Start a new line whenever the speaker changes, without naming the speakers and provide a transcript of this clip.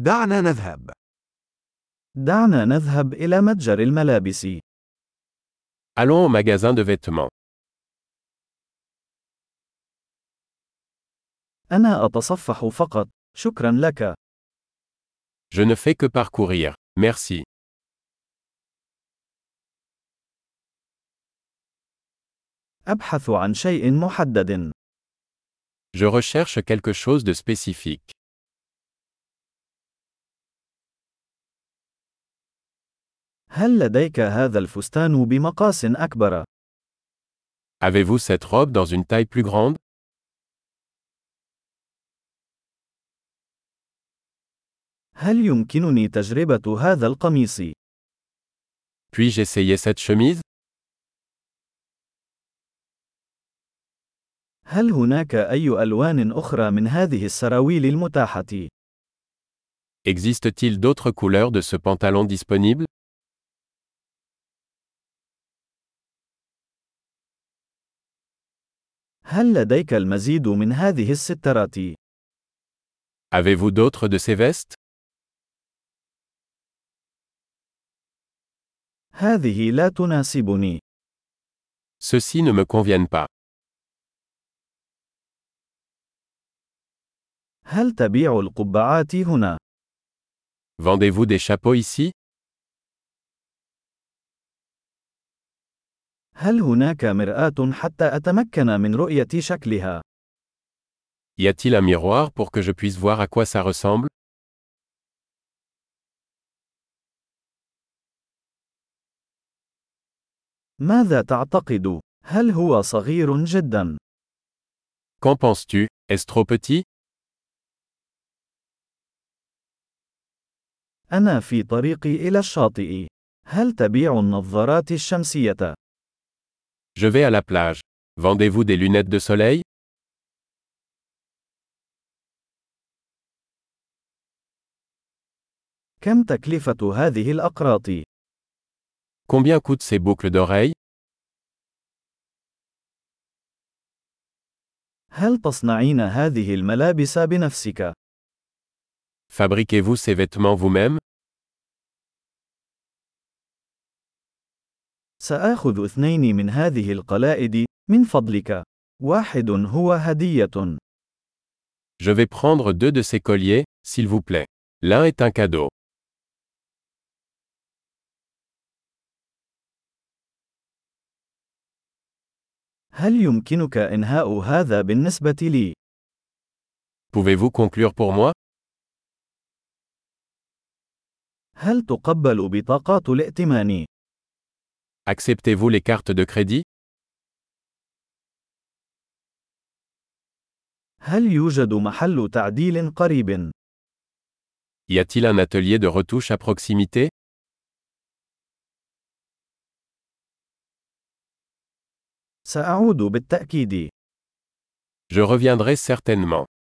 دعنا نذهب.
دعنا نذهب إلى متجر الملابس.
Allons au magasin de vêtements.
أنا أتصفح فقط. شكرا لك.
Je ne fais que parcourir. Merci.
أبحث عن شيء محدد.
Je recherche quelque chose de spécifique.
هل لديك هذا الفستان بمقاس أكبر؟
Avez-vous cette robe dans une taille plus grande
هل يمكنني تجربة هذا القميص؟
Puis-je essayer cette chemise
هل هناك أي ألوان أخرى من هذه السراويل المتاحة؟
Existe-t-il d'autres couleurs de ce pantalon disponible
هل لديك المزيد من هذه السترات؟
Avez-vous d'autres de ces vestes
هذه لا تناسبني.
Ceux-ci ne me conviennent pas.
هل تبيع القبعات هنا؟
Vendez-vous des chapeaux ici
هل هناك مرآة حتى أتمكن من رؤية شكلها؟
Y a-t-il un miroir pour que je puisse voir à quoi ça ressemble
ماذا تعتقد؟ هل هو صغير جدا؟
Qu'en penses-tu Est-ce trop petit
أنا في طريقي إلى الشاطئ. هل تبيع النظارات الشمسية؟
Je vais à la plage. Vendez-vous des lunettes de soleil
كم تكلفة هذه الأقراط؟
Combien coûtent ces boucles d'oreilles
هل تصنعين هذه الملابس بنفسك؟
Fabriquez-vous ces vêtements vous-même
سآخذ اثنين من هذه القلائد، من فضلك. واحد هو هدية.
Je vais prendre deux de ces colliers, s'il vous plaît. L'un est un cadeau.
هل يمكنك إنهاء هذا بالنسبة لي؟
Pouvez-vous conclure pour moi
هل تقبل بطاقات الائتمان؟
Acceptez-vous les cartes de crédit
هل يوجد محل تعديل قريب؟
Y a-t-il un atelier de retouche à proximité
سأعود بالتأكيد.
Je reviendrai certainement.